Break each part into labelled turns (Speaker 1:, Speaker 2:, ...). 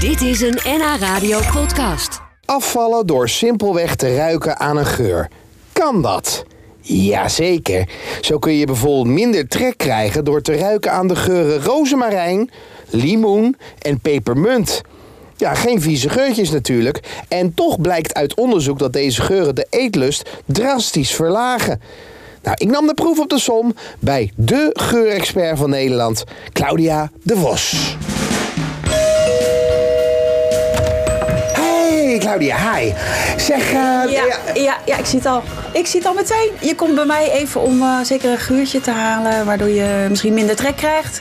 Speaker 1: Dit is een NH Radio podcast.
Speaker 2: Afvallen door simpelweg te ruiken aan een geur. Kan dat? Jazeker. Zo kun je bijvoorbeeld minder trek krijgen door te ruiken aan de geuren rozemarijn, limoen en pepermunt. Ja, geen vieze geurtjes natuurlijk. En toch blijkt uit onderzoek dat deze geuren de eetlust drastisch verlagen. Nou, ik nam de proef op de som bij de geurexpert van Nederland, Claudia de Vos. Hey Claudia, hi. Zeg, eh,
Speaker 3: Ja, ja, ja, ik zie het al. Ik zie het al meteen. Je komt bij mij even om eh, zeker een guurtje te halen, waardoor je misschien minder trek krijgt.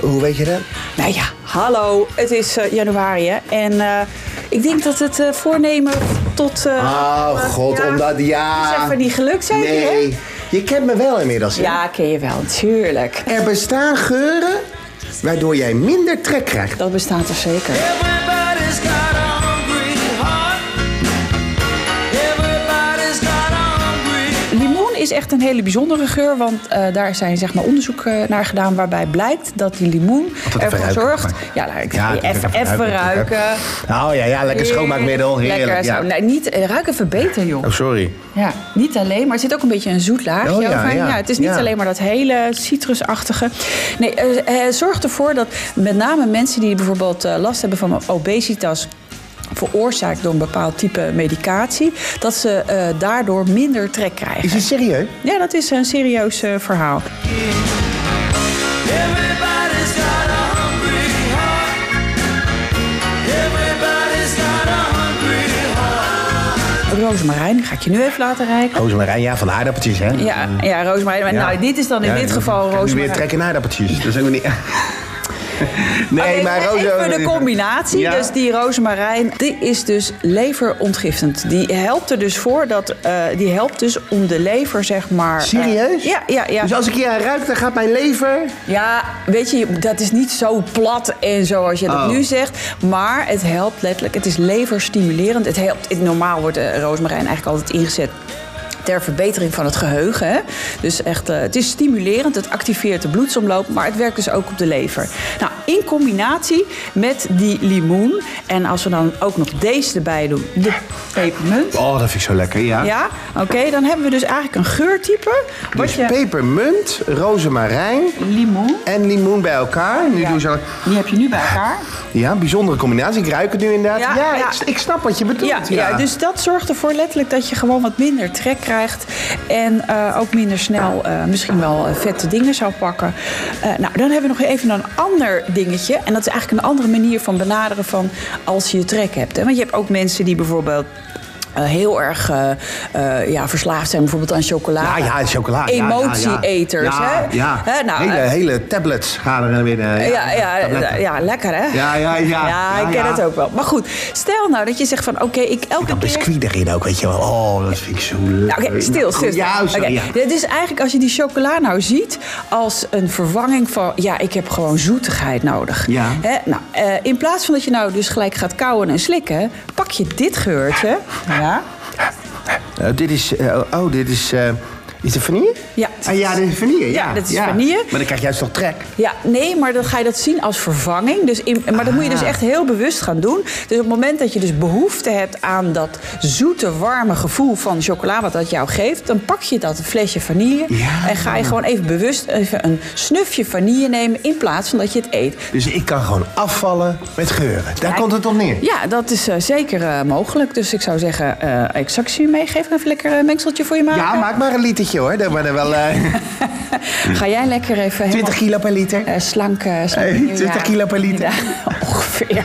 Speaker 2: hoe weet je dat?
Speaker 3: Nou ja, hallo, het is eh, januari hè. En eh, ik denk dat het eh, voornemen tot... eh,
Speaker 2: Oh
Speaker 3: eh,
Speaker 2: god,
Speaker 3: ja,
Speaker 2: omdat ja.
Speaker 3: Is even niet gelukt zijn hè?
Speaker 2: Nee, je kent me wel inmiddels. hè?
Speaker 3: Ja, ken je wel, tuurlijk.
Speaker 2: Er bestaan geuren waardoor jij minder trek krijgt.
Speaker 3: Dat bestaat toch zeker.
Speaker 4: Everybody's got a hungry heart. Everybody's got a hungry
Speaker 3: Limoen is echt een hele bijzondere geur, want eh, daar zijn zeg maar, onderzoek eh, naar gedaan waarbij blijkt dat die limoen
Speaker 2: het
Speaker 3: ervoor
Speaker 2: verruikt,
Speaker 3: zorgt.
Speaker 2: maar-
Speaker 3: Ja, nou, ik
Speaker 2: Ja,
Speaker 3: even, even,
Speaker 2: even ruiken,
Speaker 3: ruiken.
Speaker 2: Oh ja, ja lekker schoonmaakmiddel. Heerlijk.
Speaker 3: Lekker
Speaker 2: ja.
Speaker 3: zo. Nee, niet, eh, ruiken verbeteren, joh.
Speaker 2: Oh, sorry.
Speaker 3: Ja, niet alleen, maar er zit ook een beetje een zoet laagje
Speaker 2: Oh, ja,
Speaker 3: overheen.
Speaker 2: ja.
Speaker 3: Ja, het is niet
Speaker 2: Ja.
Speaker 3: alleen maar dat hele citrusachtige. Nee, eh, eh, zorg ervoor dat met name mensen die bijvoorbeeld eh, last hebben van obesitas veroorzaakt door een bepaald type medicatie, dat ze eh, daardoor minder trek
Speaker 2: Is
Speaker 3: krijgen.
Speaker 2: het serieus?
Speaker 3: Ja, dat is een serieus eh, verhaal.
Speaker 4: Everybody's got a hungry heart. Everybody's got a hungry
Speaker 3: Rozemarijn, ga ik je nu even laten reiken.
Speaker 2: Rozemarijn, ja, van de aardappeltjes, hè? Mm.
Speaker 3: Ja, ja rozemarijn. Maar
Speaker 2: Ja.
Speaker 3: nou, dit is dan in
Speaker 2: Ja,
Speaker 3: dit
Speaker 2: ik-
Speaker 3: geval
Speaker 2: ik heb Nu weer
Speaker 3: rozemarijn.
Speaker 2: trekken in aardappeltjes. dus Dat is ook niet... nee,
Speaker 3: Oké,
Speaker 2: maar
Speaker 3: even
Speaker 2: roze...
Speaker 3: de combinatie.
Speaker 2: Ja.
Speaker 3: Dus die rozemarijn, die is dus leverontgiftend. Die helpt er dus voor dat, eh, die helpt dus om de lever zeg maar. eh,
Speaker 2: Serieus?
Speaker 3: ja, ja, ja.
Speaker 2: Dus als ik hier aan ruik, dan gaat mijn lever...
Speaker 3: Ja, weet je, dat is niet zo plat en zo als je dat
Speaker 2: Oh.
Speaker 3: nu zegt. Maar het helpt letterlijk. Het is leverstimulerend. Het helpt. het- normaal wordt eh, rozemarijn eigenlijk altijd ingezet ter verbetering van het geheugen. Hè? Dus echt, eh, het is stimulerend. Het activeert de bloedsomloop, maar het werkt dus ook op de lever. Nou, in combinatie met die limoen en als we dan ook nog deze erbij doen, de pepermunt.
Speaker 2: Oh, dat vind ik zo lekker, ja.
Speaker 3: Ja, oké, dan hebben we dus eigenlijk een geurtype. Wat
Speaker 2: Dus
Speaker 3: je-
Speaker 2: pepermunt, rozemarijn
Speaker 3: limoen.
Speaker 2: en limoen bij elkaar. Nu
Speaker 3: Ja.
Speaker 2: doen ze... al-
Speaker 3: Die heb je nu bij elkaar.
Speaker 2: Ja, bijzondere combinatie. Ik ruik het nu inderdaad. Ja,
Speaker 3: Ja, ja.
Speaker 2: Ik, ik snap wat je bedoelt.
Speaker 3: Ja, ja. dus dat zorgt ervoor letterlijk dat je gewoon wat minder trek krijgt. En eh, ook minder snel eh, misschien wel eh, vette dingen zou pakken. Eh, nou, dan hebben we nog even een ander dingetje. En dat is eigenlijk een andere manier van benaderen van als je trek hebt. Hè? Want je hebt ook mensen die bijvoorbeeld... eh, heel erg eh, eh, ja, verslaafd zijn bijvoorbeeld aan
Speaker 2: Ja,
Speaker 3: chocolade.
Speaker 2: ja, chocola. ja, ja, ja.
Speaker 3: Emotie-eters,
Speaker 2: Ja,
Speaker 3: hè?
Speaker 2: ja.
Speaker 3: Hè, nou,
Speaker 2: hele,
Speaker 3: eh,
Speaker 2: hele tablets gaan er binnen.
Speaker 3: ja, ja, ja,
Speaker 2: tabletten.
Speaker 3: lekker hè?
Speaker 2: Ja, ja, ja.
Speaker 3: Ja,
Speaker 2: Ja,
Speaker 3: ik ken
Speaker 2: ja.
Speaker 3: het ook wel. Maar goed, stel nou dat je zegt van oké, ik elke
Speaker 2: Dat
Speaker 3: keer...
Speaker 2: biscuit erin ook, weet je wel. Oh, dat vind ik zo leuk.
Speaker 3: Nou, Oké, stil, stil.
Speaker 2: Ja, sorry,
Speaker 3: Oké,
Speaker 2: eh, ja.
Speaker 3: Dit is eigenlijk als je die chocola nou ziet als een vervanging van... ja, ik heb gewoon zoetigheid nodig.
Speaker 2: Ja.
Speaker 3: Hè? Nou, eh, in plaats van dat je nou dus gelijk gaat kauwen en slikken... pak je dit geurtje. Ja.
Speaker 2: Eh, dit is, eh, oh, dit is, eh, is het vanille?
Speaker 3: Ja.
Speaker 2: Ah, ja, dit is vanille, ja.
Speaker 3: Ja, dit is vanille.
Speaker 2: Maar dan krijg je juist toch trek.
Speaker 3: ja, nee, maar dan ga je dat zien als vervanging. Dus in, maar dat moet
Speaker 2: Ah.
Speaker 3: je dus echt heel bewust gaan doen. Dus op het moment dat je dus behoefte hebt aan dat zoete, warme gevoel van chocola... wat dat jou geeft, dan pak je dat flesje vanille...
Speaker 2: Ja.
Speaker 3: en ga je gewoon even bewust even een snufje vanille nemen... in plaats van dat je het eet.
Speaker 2: Dus ik kan gewoon afvallen met geuren. Daar komt het op neer.
Speaker 3: Ja, dat is eh, zeker eh, mogelijk. Dus ik zou zeggen, eh ik zal ik ze je meegeven. Even lekker een mengseltje voor je maken.
Speaker 2: Ja, maak maar een litertje hoor. Dat worden wel eh,
Speaker 3: Ga jij lekker even
Speaker 2: 20 kilo
Speaker 3: helemaal,
Speaker 2: per liter.
Speaker 3: eh, slank... eh, slank
Speaker 2: Hey,
Speaker 3: nieuwjaar.
Speaker 2: 20 kilo per liter.
Speaker 3: Ja, ongeveer.